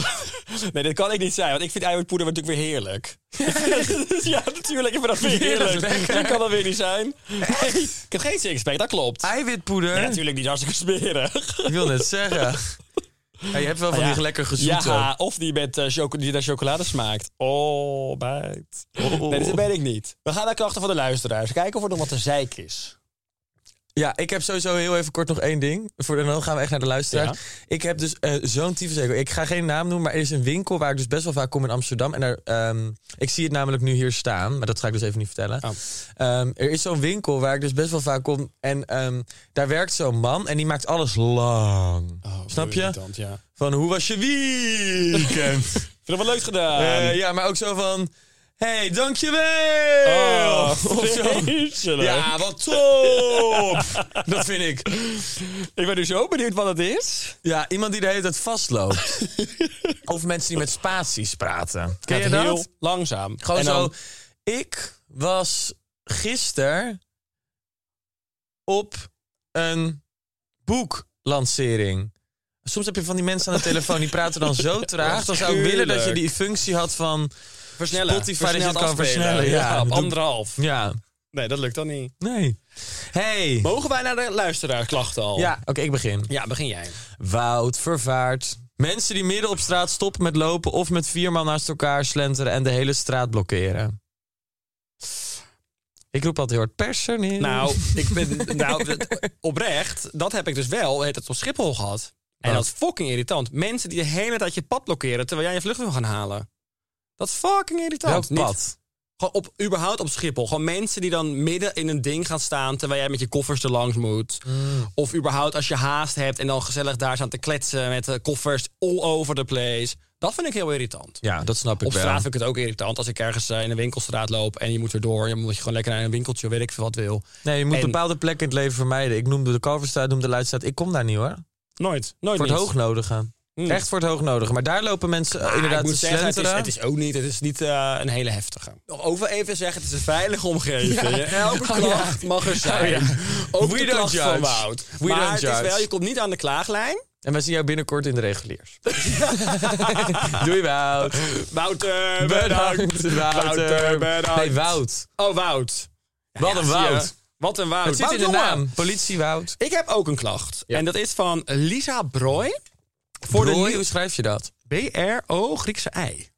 Speaker 4: Nee, dat kan ik niet zijn, want ik vind eiwitpoeder natuurlijk weer heerlijk. (laughs) Dus ja, natuurlijk, ik vind dat weer heerlijk.
Speaker 5: Heerlijk, lekker.
Speaker 4: Dat kan dat weer niet zijn. Nee, ik heb geen sixpack, dat klopt.
Speaker 5: Eiwitpoeder?
Speaker 4: Nee, natuurlijk niet, hartstikke smerig.
Speaker 5: Ik wil net (laughs) zeggen. Ah, Ja, je hebt wel van die lekker gezoete.
Speaker 4: Ja, of die, met, eh, choco- die naar chocolade smaakt. Oh, bijt. Nee, dat ben ik niet. We gaan naar klachten van de luisteraars. Kijken of er nog wat te zeik is.
Speaker 5: Ja, ik heb sowieso heel even kort nog één ding. Voor, en dan gaan we echt naar de luisteraar.
Speaker 4: Ja.
Speaker 5: Ik heb dus eh, zo'n tyfushekel. Ik ga geen naam noemen, maar er is een winkel waar ik dus best wel vaak kom in Amsterdam. En daar, ehm, ik zie het namelijk nu hier staan, maar dat ga ik dus even niet vertellen.
Speaker 4: Oh.
Speaker 5: Ehm, er is zo'n winkel waar ik dus best wel vaak kom. En ehm, daar werkt zo'n man en die maakt alles lang.
Speaker 4: Oh.
Speaker 5: Snap je?
Speaker 4: Irritant, ja.
Speaker 5: Van hoe was je
Speaker 4: (laughs)
Speaker 5: weekend?
Speaker 4: Vind je dat wel leuk gedaan?
Speaker 5: Eh, ja, maar ook zo van... hey, dankjewel!
Speaker 4: Oh,
Speaker 5: (laughs) Of zo.
Speaker 4: vreselijk.
Speaker 5: Ja, wat
Speaker 4: (laughs)
Speaker 5: top! dat vind ik.
Speaker 4: Ik ben nu zo benieuwd wat het is.
Speaker 5: Ja, iemand die de hele tijd
Speaker 4: (laughs)
Speaker 5: vastloopt. of mensen die met spaties praten. Ken je
Speaker 4: Gaat
Speaker 5: dat?
Speaker 4: Heel langzaam.
Speaker 5: Gewoon
Speaker 4: En dan-
Speaker 5: zo. Ik was gisteren op een boeklancering. Soms heb je van die mensen aan de telefoon die praten dan
Speaker 4: (laughs)
Speaker 5: zo traag. Dan zou ik willen dat je die functie had van.
Speaker 4: versnellen.
Speaker 5: Spotify
Speaker 4: Versneld
Speaker 5: dat je het kan
Speaker 4: afspelen.
Speaker 5: versnellen, ja.
Speaker 4: op
Speaker 5: Doe-
Speaker 4: anderhalf.
Speaker 5: Ja,
Speaker 4: Nee, dat lukt dan niet.
Speaker 5: nee. Hey.
Speaker 4: Mogen wij naar de luisteraarsklachten al?
Speaker 5: Ja, oké, ik begin.
Speaker 4: Ja, begin jij.
Speaker 5: Woud, vervaard. Mensen die midden op straat stoppen met lopen of met vier man naast elkaar slenteren en de hele straat blokkeren. Ik roep altijd heel hard personeel.
Speaker 4: Nou, ik ben, nou, dat- oprecht, dat heb ik dus wel, heet het op Schiphol gehad. En
Speaker 5: Wat?
Speaker 4: dat is fucking irritant. Mensen die de hele tijd je pad blokkeren terwijl jij je vlucht wil gaan halen. Dat is fucking irritant.
Speaker 5: welk
Speaker 4: Niet-
Speaker 5: pad?
Speaker 4: Gewoon op, überhaupt op Schiphol. Gewoon mensen die dan midden in een ding gaan staan terwijl jij met je koffers er langs moet.
Speaker 5: Mm.
Speaker 4: Of überhaupt als je haast hebt en dan gezellig daar staan te kletsen met eh, koffers all over the place. Dat vind ik heel irritant.
Speaker 5: Ja, dat snap ik
Speaker 4: Op
Speaker 5: wel.
Speaker 4: straat vind ik het ook irritant als ik ergens eh, in een winkelstraat loop en je moet erdoor. Je moet je gewoon lekker naar een winkeltje, weet ik veel wat wil.
Speaker 5: Nee, je moet
Speaker 4: En-
Speaker 5: bepaalde plekken in het leven vermijden. Ik noemde de Kalverstraat, noemde de Luidstraat. Ik kom daar niet hoor.
Speaker 4: Nooit. Nooit
Speaker 5: Voor het
Speaker 4: niet.
Speaker 5: hoognodige.
Speaker 4: Mm.
Speaker 5: Echt voor het hoognodige. Maar daar lopen mensen eh,
Speaker 4: Ah,
Speaker 5: inderdaad
Speaker 4: ik
Speaker 5: te
Speaker 4: moet zeggen, het is,
Speaker 5: slenteren.
Speaker 4: het is ook niet, het is niet eh, een hele heftige. Nog over even zeggen, het is een veilige
Speaker 5: (laughs)
Speaker 4: omgeving. Elke
Speaker 5: oh
Speaker 4: klacht mag er zijn. Ook
Speaker 5: We
Speaker 4: de
Speaker 5: don't
Speaker 4: klacht
Speaker 5: judge.
Speaker 4: van Wout.
Speaker 5: We
Speaker 4: maar
Speaker 5: don't
Speaker 4: het
Speaker 5: judge.
Speaker 4: is wel, je komt niet aan de klaaglijn.
Speaker 5: En we zien jou binnenkort in de
Speaker 4: (laughs)
Speaker 5: reguliers. (laughs) Doei Wout.
Speaker 4: Wouter,
Speaker 5: Bedankt. Wouter.
Speaker 4: bedankt.
Speaker 5: Nee, Wout.
Speaker 4: Oh, Wout.
Speaker 5: Wat
Speaker 4: Ja,
Speaker 5: een
Speaker 4: zie je.
Speaker 5: Wout.
Speaker 4: Wat een Wout.
Speaker 5: Het zit
Speaker 4: Wout,
Speaker 5: in de
Speaker 4: jongen.
Speaker 5: naam. Politie Wout.
Speaker 4: Ik heb ook een klacht. En dat is van Lisa Broy. Voor
Speaker 5: Brooi,
Speaker 4: de
Speaker 5: hoe schrijf je dat?
Speaker 4: nieuw- B-R-O, Griekse ei.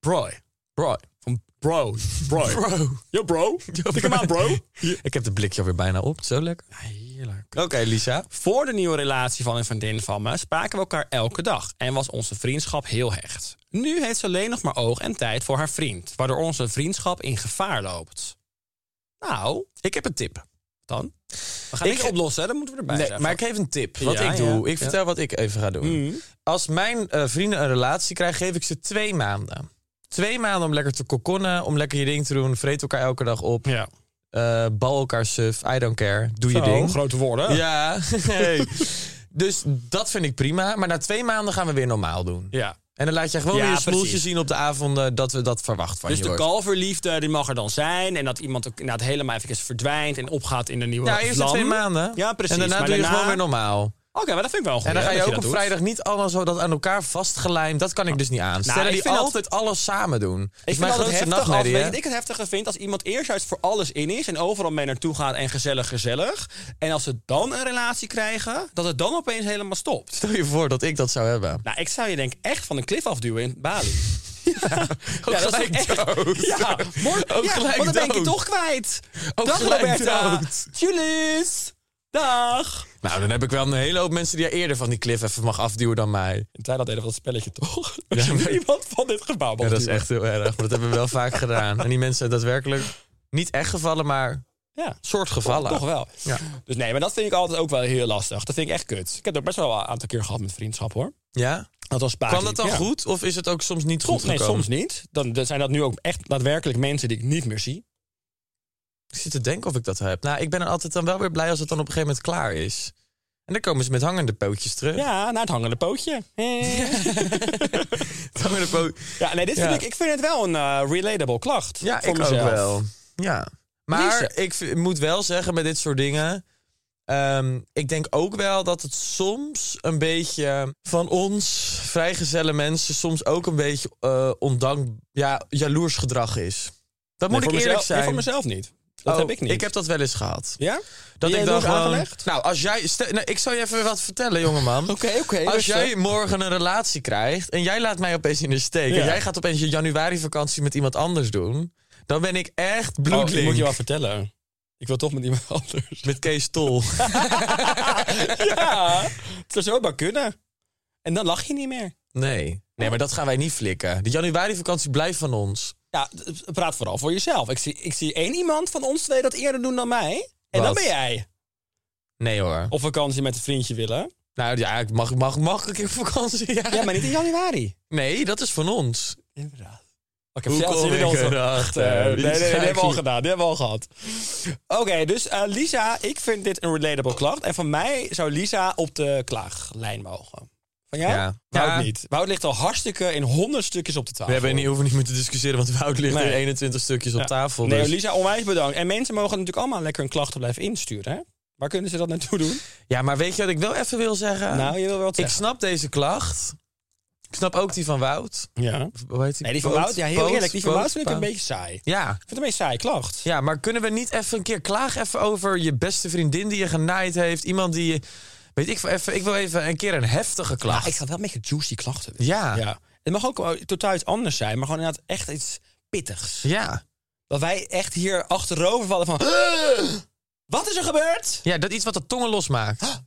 Speaker 4: Broy.
Speaker 5: Bro.
Speaker 4: Van bro, bro.
Speaker 5: Bro.
Speaker 4: Yo bro, tik hem aan bro.
Speaker 5: (laughs) Ik heb de blikje alweer bijna op. Zo lekker.
Speaker 4: Heerlijk.
Speaker 5: Oké, Lisa.
Speaker 4: Voor de nieuwe relatie van een vriendin van me spraken we elkaar elke dag en was onze vriendschap heel hecht. Nu heeft ze alleen nog maar oog en tijd voor haar vriend, waardoor onze vriendschap in gevaar loopt. Nou,
Speaker 5: Ik heb een tip.
Speaker 4: dan. We gaan
Speaker 5: Ik-
Speaker 4: niks oplossen, hè? dan moeten we erbij
Speaker 5: Nee,
Speaker 4: zijn.
Speaker 5: maar ik geef een tip. Wat
Speaker 4: Ja,
Speaker 5: ik doe.
Speaker 4: ja. Mm.
Speaker 5: Ik vertel wat ik even ga doen. Als mijn eh, vrienden een relatie krijgen, geef ik ze twee maanden. Twee maanden om lekker te kokonnen, om lekker je ding te doen. Vreet elkaar elke dag op.
Speaker 4: Ja.
Speaker 5: eh, bal elkaar suf. I don't care. Doe
Speaker 4: Zo,
Speaker 5: je ding.
Speaker 4: grote woorden.
Speaker 5: Ja. (laughs) Hey. Dus dat vind ik prima. Maar na twee maanden gaan we weer normaal doen.
Speaker 4: Ja.
Speaker 5: En dan laat je gewoon
Speaker 4: Ja,
Speaker 5: weer een smoeltje
Speaker 4: precies.
Speaker 5: zien op de avonden dat we dat verwacht van
Speaker 4: Dus
Speaker 5: je.
Speaker 4: de
Speaker 5: wordt.
Speaker 4: kalverliefde, die mag er dan zijn. En dat iemand ook inderdaad helemaal even verdwijnt en opgaat in de nieuwe
Speaker 5: Ja, eerst de
Speaker 4: vlam.
Speaker 5: twee maanden.
Speaker 4: Ja, precies.
Speaker 5: En daarna
Speaker 4: maar
Speaker 5: doe je gewoon weer normaal.
Speaker 4: Oké, maar dat vind ik wel goed.
Speaker 5: En dan ga je ook op vrijdag niet allemaal zo dat aan elkaar vastgelijmd. Dat kan ik dus niet aan. Stellen
Speaker 4: Nou, ik
Speaker 5: die
Speaker 4: vind dat-
Speaker 5: altijd alles samen doen. Dat is
Speaker 4: Ik
Speaker 5: mijn
Speaker 4: vind altijd
Speaker 5: grootste
Speaker 4: heftig als, weet
Speaker 5: nachtmerrie,
Speaker 4: je
Speaker 5: hè?
Speaker 4: wat ik het heftiger vind als iemand eerst juist voor alles in is en overal mee naartoe gaat en gezellig, gezellig. En als ze dan een relatie krijgen, dat het dan opeens helemaal stopt.
Speaker 5: Stel je voor dat ik dat zou hebben.
Speaker 4: Nou, ik zou je denk ik echt van een klif afduwen in Bali. Ja, dat is ook echt-
Speaker 5: dood.
Speaker 4: (laughs) Ja, mor-
Speaker 5: Ook
Speaker 4: ja,
Speaker 5: gelijk
Speaker 4: want dan ben ik je
Speaker 5: dood.
Speaker 4: toch kwijt.
Speaker 5: Ook
Speaker 4: Dag
Speaker 5: gelijk
Speaker 4: Roberta.
Speaker 5: dood.
Speaker 4: Julius. Dag.
Speaker 5: Nou, dan heb ik wel een hele hoop mensen die er eerder van die cliff even mag afduwen dan mij.
Speaker 4: En zij dat deden van dat spelletje toch?
Speaker 5: Als je
Speaker 4: iemand van dit gebouw
Speaker 5: Ja, dat is echt heel erg. Maar dat hebben we wel vaak gedaan. En die mensen daadwerkelijk niet echt gevallen, maar
Speaker 4: Ja.
Speaker 5: soort gevallen.
Speaker 4: Toch wel.
Speaker 5: Ja.
Speaker 4: Dus nee, maar dat vind ik altijd ook wel heel lastig. Dat vind ik echt kut. Ik heb er best wel een aantal keer gehad met vriendschap hoor.
Speaker 5: Ja?
Speaker 4: Dat was spaak
Speaker 5: Kan
Speaker 4: liep,
Speaker 5: dat dan
Speaker 4: Ah, ja.
Speaker 5: goed of is het ook soms niet goed
Speaker 4: Soms, nee,
Speaker 5: gekomen?
Speaker 4: soms niet. Dan dan zijn dat nu ook echt daadwerkelijk mensen die ik niet meer zie.
Speaker 5: Ik zit te denken of ik dat heb. Nou, ik ben er altijd dan wel weer blij als het dan op een gegeven moment klaar is. En dan komen ze met hangende pootjes terug.
Speaker 4: Ja, naar het hangende pootje.
Speaker 5: Het (laughs) hangende poot.
Speaker 4: ja, nee, dit vind
Speaker 5: Ja.
Speaker 4: ik, ik vind het wel een eh, relatable klacht.
Speaker 5: Ja,
Speaker 4: voor
Speaker 5: ik
Speaker 4: mezelf.
Speaker 5: ook wel. Ja. Maar
Speaker 4: Lisa.
Speaker 5: ik v- moet wel zeggen met dit soort dingen. ehm, ik denk ook wel dat het soms een beetje van ons, vrijgezelle mensen, soms ook een beetje eh ondank, ja, jaloers gedrag is. Dat
Speaker 4: Nee,
Speaker 5: moet
Speaker 4: voor
Speaker 5: ik eerlijk
Speaker 4: mezelf,
Speaker 5: zijn.
Speaker 4: Nee, voor mezelf niet. Dat
Speaker 5: Oh,
Speaker 4: heb ik niet.
Speaker 5: Ik heb dat wel eens gehad.
Speaker 4: Ja?
Speaker 5: Dat
Speaker 4: Ben
Speaker 5: ik
Speaker 4: jij
Speaker 5: dan
Speaker 4: door
Speaker 5: gewoon.
Speaker 4: aangelegd?
Speaker 5: Nou, als jij. stel- nou, ik zal je even wat vertellen, jongeman.
Speaker 4: (laughs) Oké, oké,
Speaker 5: Als
Speaker 4: rustig.
Speaker 5: jij morgen een relatie krijgt en jij laat mij opeens in de steek.
Speaker 4: Ja.
Speaker 5: En jij gaat opeens je januari-vakantie met iemand anders doen. Dan ben ik echt
Speaker 4: Oh, ik
Speaker 5: bloedling.
Speaker 4: moet je wel vertellen. Ik wil toch met iemand (laughs) anders.
Speaker 5: Met Kees Tol. (laughs)
Speaker 4: ja, het zou zomaar kunnen. En dan lach je niet meer.
Speaker 5: nee. Nee, maar dat gaan wij niet flikken. De januari-vakantie blijft van ons.
Speaker 4: Ja, d- praat vooral voor jezelf. Ik zie, ik zie één iemand van ons twee dat eerder doen dan mij. En
Speaker 5: Wat?
Speaker 4: dan ben jij.
Speaker 5: Nee hoor.
Speaker 4: Op vakantie met een vriendje willen.
Speaker 5: Nou ja, ik mag, mag, mag ik op vakantie? Ja.
Speaker 4: Ja, maar niet in januari.
Speaker 5: Nee, dat is van ons.
Speaker 4: Inderdaad. Ik heb
Speaker 5: Hoe
Speaker 4: zelfs
Speaker 5: kom
Speaker 4: zin in
Speaker 5: ik
Speaker 4: onze
Speaker 5: erachter?
Speaker 4: Eh, Nee, nee, nee,
Speaker 5: Wie
Speaker 4: die
Speaker 5: ga
Speaker 4: hebben
Speaker 5: ik
Speaker 4: we al
Speaker 5: hier-
Speaker 4: gedaan. Die hebben we al gehad. Oké, dus eh, Lisa, ik vind dit een relatable klacht. En van mij zou Lisa op de klaaglijn mogen. Van jou?
Speaker 5: Ja.
Speaker 4: Wout
Speaker 5: Ja.
Speaker 4: niet. Wout ligt al hartstikke in honderd stukjes op de tafel.
Speaker 5: We hebben niet, hoeven niet meer te discussiëren, want Wout ligt
Speaker 4: Nee.
Speaker 5: er 21 stukjes
Speaker 4: Ja.
Speaker 5: op tafel.
Speaker 4: Nee,
Speaker 5: dus-
Speaker 4: Lisa, onwijs bedankt. En mensen mogen natuurlijk allemaal lekker hun klachten blijven insturen, hè? Waar kunnen ze dat naartoe doen?
Speaker 5: Ja, maar weet je wat ik wel even wil zeggen?
Speaker 4: nou, je wil wel wat
Speaker 5: ik
Speaker 4: zeggen.
Speaker 5: snap deze klacht. Ik snap ook die van Wout.
Speaker 4: Ja.
Speaker 5: Hoe heet die?
Speaker 4: Nee, die van
Speaker 5: Poot?
Speaker 4: Wout, ja, heel
Speaker 5: Poot?
Speaker 4: eerlijk. Die van
Speaker 5: Poot?
Speaker 4: Wout vind ik een
Speaker 5: Poot?
Speaker 4: beetje saai. Ik
Speaker 5: Ja,
Speaker 4: vind het een beetje saai klacht.
Speaker 5: Ja, maar kunnen we niet even een keer klagen even over je beste vriendin die je genaaid heeft? Iemand die je. Weet ik, veel, even, ik wil even een keer een heftige klacht.
Speaker 4: Maar ik ga wel een beetje juicy klachten. willen.
Speaker 5: Ja.
Speaker 4: ja. Het mag ook wel totaal iets anders zijn, maar gewoon inderdaad echt iets pittigs.
Speaker 5: Ja.
Speaker 4: Dat wij echt hier achterover vallen van... Wat is er gebeurd?
Speaker 5: ja, dat iets wat de tongen losmaakt.
Speaker 4: Ja.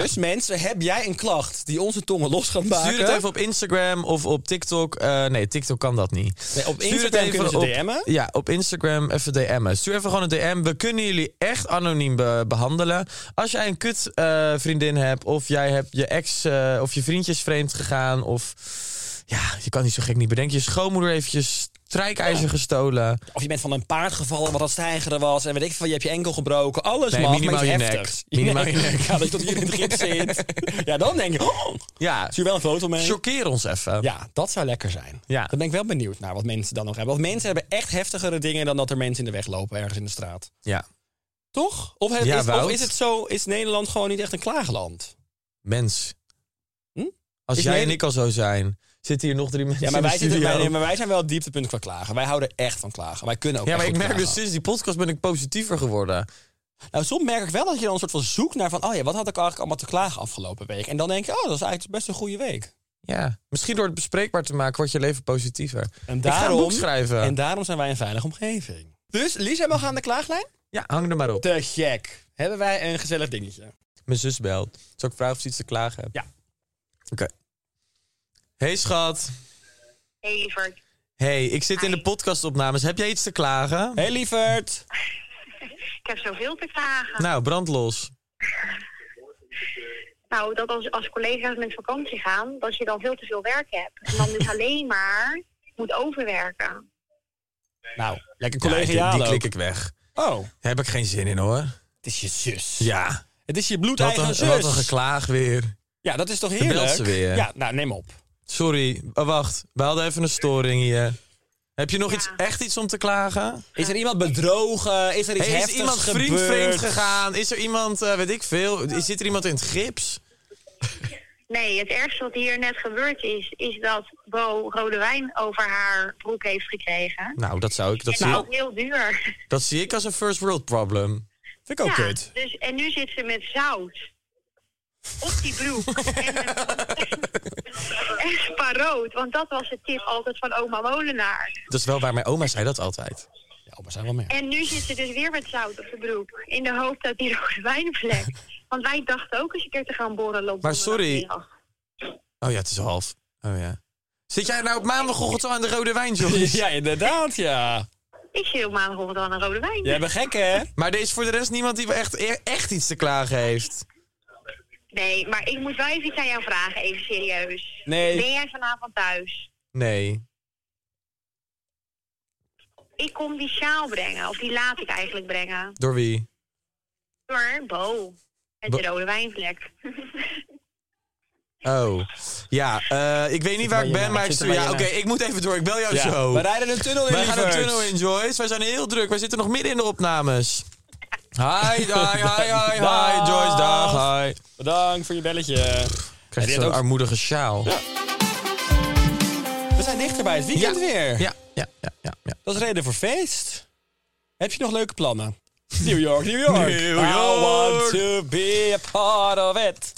Speaker 4: Dus mensen, heb jij een klacht die onze tongen los gaat maken?
Speaker 5: Stuur het even op Instagram of op TikTok. Eh, nee, TikTok kan dat niet.
Speaker 4: Nee, op
Speaker 5: Stuur
Speaker 4: Instagram
Speaker 5: het even
Speaker 4: kunnen ze
Speaker 5: op-
Speaker 4: DM'en.
Speaker 5: Ja, op Instagram even DM'en. Stuur even gewoon een DM. We kunnen jullie echt anoniem be- behandelen. Als jij een kut eh, vriendin hebt, of jij hebt je ex eh, of je vriendjes vreemd gegaan, of ja, je kan niet zo gek niet bedenken. Je schoonmoeder heeft je strijkijzer gestolen.
Speaker 4: Of je bent van een paard gevallen wat dat stijgeren was. En weet ik veel, je hebt je enkel gebroken. Alles
Speaker 5: Nee,
Speaker 4: mag,
Speaker 5: minimaal
Speaker 4: maar iets
Speaker 5: je nek.
Speaker 4: heftigs.
Speaker 5: Minimaal je nek.
Speaker 4: Ja, dat je tot hier in het gips
Speaker 5: (laughs)
Speaker 4: zit. Ja, dan denk je... Oh,
Speaker 5: Ja,
Speaker 4: stuur wel een foto mee.
Speaker 5: choqueer ons even.
Speaker 4: Ja, dat zou lekker zijn.
Speaker 5: Ja.
Speaker 4: Dan ben ik wel benieuwd naar wat mensen dan nog hebben. Want mensen hebben echt heftigere dingen dan dat er mensen in de weg lopen ergens in de straat.
Speaker 5: Ja.
Speaker 4: Toch? Of, het-
Speaker 5: Ja,
Speaker 4: is,
Speaker 5: Wout.
Speaker 4: of is het zo, is Nederland gewoon niet echt een klaagland?
Speaker 5: Mens.
Speaker 4: Hm?
Speaker 5: Als
Speaker 4: Is
Speaker 5: jij
Speaker 4: mijn-
Speaker 5: en ik al zo zijn, zitten hier nog drie mensen
Speaker 4: Ja, maar wij,
Speaker 5: in de
Speaker 4: zitten,
Speaker 5: studio.
Speaker 4: wij, nee, maar wij zijn wel het dieptepunt qua klagen. Wij houden echt van klagen. Wij kunnen ook
Speaker 5: ja,
Speaker 4: echt
Speaker 5: maar ik
Speaker 4: Oh, goed
Speaker 5: merk dus
Speaker 4: klagen.
Speaker 5: sinds die podcast ben ik positiever geworden.
Speaker 4: Nou, soms merk ik wel dat je dan een soort van zoekt naar van... oh ja, wat had ik eigenlijk allemaal te klagen afgelopen week? En dan denk je, oh, dat is eigenlijk best een goede week.
Speaker 5: Ja. Misschien door het bespreekbaar te maken wordt je leven positiever.
Speaker 4: En
Speaker 5: Ik ga een
Speaker 4: daarom,
Speaker 5: boek schrijven.
Speaker 4: en daarom zijn wij een veilige omgeving. Dus Lisa mag aan de klaaglijn?
Speaker 5: Ja, hang er maar op.
Speaker 4: Te gek. Hebben wij een gezellig dingetje.
Speaker 5: Mijn zus belt. Zal ik vragen of ze iets te klagen heeft?
Speaker 4: Ja.
Speaker 5: Oké. Hey schat.
Speaker 6: Hey lieverd.
Speaker 5: Hey, ik zit in de podcastopnames. Heb jij iets te klagen?
Speaker 4: Hey lieverd.
Speaker 6: Ik heb zoveel te vragen.
Speaker 5: Nou, brand los.
Speaker 6: Nou, dat als, als collega's met vakantie gaan, dat je dan veel te veel werk hebt. En dan dus alleen maar moet overwerken.
Speaker 4: Nou, lekker
Speaker 5: Ja, die,
Speaker 4: collegiaal
Speaker 5: die klik
Speaker 4: ook.
Speaker 5: ik weg.
Speaker 4: Oh,
Speaker 5: Heb ik geen zin in hoor.
Speaker 4: het is je zus.
Speaker 5: Ja.
Speaker 4: Het is je
Speaker 5: Wat
Speaker 4: bloedeigen
Speaker 5: een,
Speaker 4: zus.
Speaker 5: wat een geklaag weer.
Speaker 4: Ja, dat is toch
Speaker 5: belt
Speaker 4: heerlijk?
Speaker 5: ze weer.
Speaker 4: Ja, nou neem op.
Speaker 5: Sorry, oh, wacht. We hadden even een storing hier. Heb je nog
Speaker 6: Ja.
Speaker 5: iets, echt iets om te klagen?
Speaker 4: Is er iemand bedrogen? Is er iets
Speaker 5: Hey, is
Speaker 4: heftigs
Speaker 5: iemand
Speaker 4: gebeurd?
Speaker 5: vriend vreemd gegaan? Is er iemand, eh, weet ik veel, is- zit er iemand in het gips?
Speaker 6: Nee, het ergste wat hier net gebeurd is, is dat Bo rode wijn over haar broek heeft gekregen.
Speaker 5: Nou, dat zou ik, dat,
Speaker 6: en dat
Speaker 5: zie,
Speaker 6: is heel duur.
Speaker 5: dat zie ik als een first world problem.
Speaker 4: Vind
Speaker 5: Oh,
Speaker 4: ik ook
Speaker 6: ja,
Speaker 4: kut.
Speaker 6: dus, en nu zit ze met zout op die broek. en, en sparoot, want dat was de tip altijd van oma Molenaar.
Speaker 5: Dat is wel waar mijn oma zei dat altijd.
Speaker 4: Ja, maar zijn wel meer.
Speaker 6: En nu zit ze dus weer met zout op de broek. In de hoop dat die (laughs) rode wijn vlekt. Want wij dachten ook eens een keer te gaan borrelen op
Speaker 5: Maar sorry.
Speaker 6: donderdagmiddag.
Speaker 5: Oh ja, het is half. Oh ja. Zit jij nou op maandagochtend al aan de rode
Speaker 4: (laughs)
Speaker 5: wijn, (laughs) jongens?
Speaker 4: Ja, inderdaad, ja.
Speaker 6: Ik zie op maandagochtend al een rode wijn.
Speaker 4: Jij bent gek, hè?
Speaker 5: Maar er is voor de rest niemand die echt, e- echt iets te klagen heeft.
Speaker 6: Nee, maar ik moet wel even iets aan jou vragen, even serieus.
Speaker 4: Nee.
Speaker 6: Ben jij vanavond thuis?
Speaker 5: Nee.
Speaker 6: Ik kom die sjaal brengen, of die laat ik eigenlijk brengen.
Speaker 5: Door wie?
Speaker 6: Door Bo. Met de rode wijnvlek. (laughs)
Speaker 5: Oh. Ja, eh, ik weet niet waar ik ben, maar ik...
Speaker 4: nou? Zit er
Speaker 5: stuur-
Speaker 4: maar
Speaker 5: Ja,
Speaker 4: in,
Speaker 5: oké,
Speaker 4: hè?
Speaker 5: ik moet even door. Ik bel jou
Speaker 4: Ja.
Speaker 5: zo.
Speaker 4: We rijden een tunnel in,
Speaker 5: Wij gaan de
Speaker 4: lieverd.
Speaker 5: tunnel in, Joyce. Wij zijn heel druk. Wij zitten nog midden in de opnames. Hi, hi, hi, hi, hi.
Speaker 4: (laughs) Dag.
Speaker 5: Joyce, dag, hi.
Speaker 4: Bedankt voor je belletje.
Speaker 5: Krijg
Speaker 4: Ja,
Speaker 5: je
Speaker 4: die
Speaker 5: zo'n
Speaker 4: had ook-
Speaker 5: armoedige sjaal.
Speaker 4: We zijn dichter bij het weekend weer.
Speaker 5: Ja, ja, ja, ja. ja.
Speaker 4: Dat is reden voor feest. Heb je nog leuke plannen? New York, New York.
Speaker 5: New
Speaker 4: I want
Speaker 5: York.
Speaker 4: to be a part of it.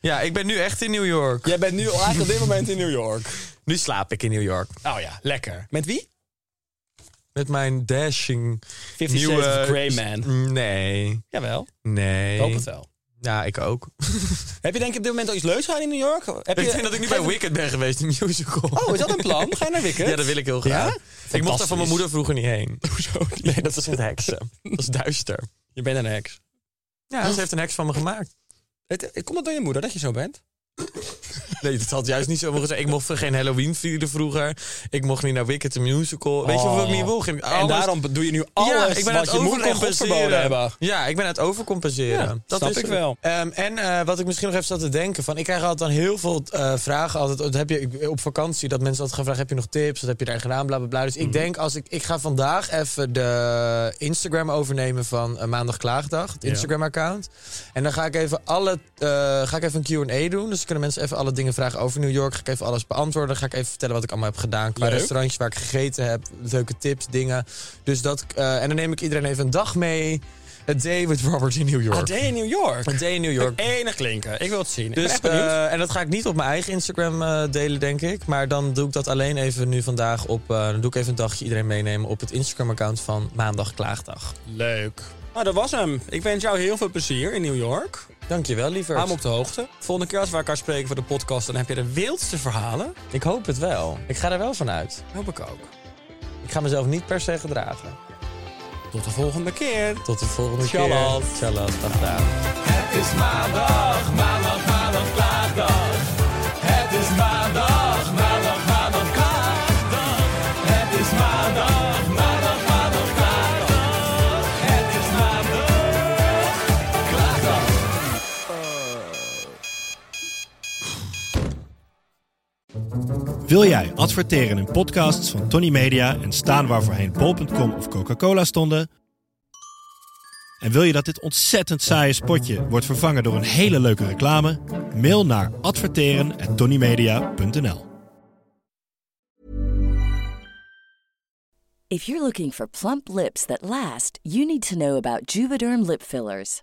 Speaker 5: Ja, ik ben nu echt in New York.
Speaker 4: Jij bent nu eigenlijk op dit moment in New York.
Speaker 5: Nu slaap ik in New York.
Speaker 4: Oh ja, lekker. Met wie?
Speaker 5: Met mijn dashing
Speaker 4: Fifty
Speaker 5: nieuwe...
Speaker 4: Shades of Grey man.
Speaker 5: Nee,
Speaker 4: Jawel,
Speaker 5: nee.
Speaker 4: ik hoop het wel.
Speaker 5: Ja, ik ook. (laughs)
Speaker 4: Heb je denk ik op dit moment al iets leuks gedaan in New York? Heb je...
Speaker 5: ik denk dat ik nu bij Wicked ben geweest, de musical.
Speaker 4: Oh, is dat een plan? Ga je naar Wicked?
Speaker 5: Ja, dat wil ik heel graag. Ik mocht daar van mijn moeder vroeger niet heen.
Speaker 4: (laughs) Hoezo niet?
Speaker 5: Nee, dat is een heksen. Dat is duister.
Speaker 4: Je bent een heks.
Speaker 5: Ja, ze heeft een heks van me gemaakt.
Speaker 4: Het, komt dat door je moeder dat je zo bent?
Speaker 5: Nee, dat had juist niet zo mogen zijn. Ik mocht geen Halloween vieren vroeger. Ik mocht niet naar Wicked the Musical. Weet je hoeveel ik niet mocht? En
Speaker 4: Oh. En daarom doe je nu alles
Speaker 5: aan
Speaker 4: wat je moeder en God verboden hebben.
Speaker 5: Ja, ik ben aan het overcompenseren.
Speaker 4: Ja, snap ik
Speaker 5: het.
Speaker 4: wel.
Speaker 5: Ehm, en eh, wat ik misschien nog even zat te denken. Van, ik krijg altijd dan heel veel eh, vragen. Altijd, dat heb je, ik- op vakantie dat mensen altijd gaan vragen. Heb je nog tips? Wat heb je daar gedaan? Bla, bla, bla. Dus
Speaker 4: Mhm.
Speaker 5: ik denk als ik... Ik ga vandaag even de Instagram overnemen van eh, Maandag Klaagdag. Het
Speaker 4: Ja.
Speaker 5: Instagram account. En dan ga ik even alle... eh, ga ik even een Q&A doen. Dus kunnen mensen even alle dingen vragen over New York. Ga ik even alles beantwoorden. Ga ik even vertellen wat ik allemaal heb gedaan. Qua
Speaker 4: Leuk.
Speaker 5: restaurantjes waar ik gegeten heb. Leuke tips, dingen. Dus dat... eh, en dan neem ik iedereen even een dag mee. A day with Robert in New York.
Speaker 4: AD in New York.
Speaker 5: A day in New (laughs) York.
Speaker 4: Enig klinken. Ik wil het zien.
Speaker 5: Dus,
Speaker 4: ik ben echt benieuwd.
Speaker 5: eh, en dat ga ik niet op mijn eigen Instagram eh, delen, denk ik. Maar dan doe ik dat alleen even nu vandaag op... eh, dan doe ik even een dagje iedereen meenemen op het Instagram-account van Maandag Klaagdag.
Speaker 4: Leuk. Nou, dat was hem. Ik wens jou heel veel plezier in New York.
Speaker 5: Dankjewel,
Speaker 4: Hou
Speaker 5: lieverd.
Speaker 4: me op de hoogte. Volgende keer als we elkaar spreken voor de podcast, dan heb je de wildste verhalen.
Speaker 5: Ik hoop het wel. Ik ga er wel van uit.
Speaker 4: Hoop ik ook.
Speaker 5: Ik ga mezelf niet per se gedragen.
Speaker 4: Tot de volgende keer.
Speaker 5: Tot de volgende
Speaker 4: Tjallat.
Speaker 5: keer. Tjallat. Dag, dag.
Speaker 7: Wil jij adverteren in podcasts van Tony Media en staan waar voorheen bol.com of Coca-Cola stonden? En wil je dat dit ontzettend saaie spotje wordt vervangen door een hele leuke reclame? Mail naar adverteren@tonymedia.nl.
Speaker 2: If you're looking for plump lips that last, you need to know about Juvederm lip fillers.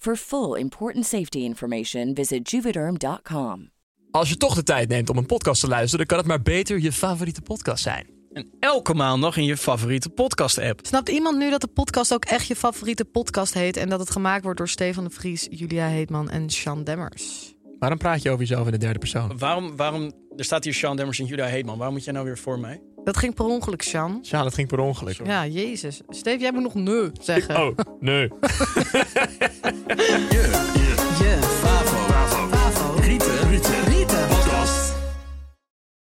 Speaker 2: For full important safety information, visit juvederm.com.
Speaker 8: Als je toch de tijd neemt om een podcast te luisteren, dan kan het maar beter je favoriete podcast zijn. En elke maandag in je favoriete podcast-app.
Speaker 9: Snapt iemand nu dat de podcast ook echt je favoriete podcast heet en dat het gemaakt wordt door Stefan de Vries, Julia Heetman en Sean Demmers?
Speaker 8: Waarom praat je over jezelf in de derde
Speaker 5: Hm.
Speaker 8: persoon?
Speaker 4: Waarom, waarom, er staat hier Sean Demmers en Julia Heetman. Waarom moet jij nou weer voor mij?
Speaker 9: Dat ging per ongeluk, Sean.
Speaker 8: Ja, dat ging per ongeluk.
Speaker 9: Ja, jezus. Steef, jij moet nog nee zeggen.
Speaker 8: Oh, nee.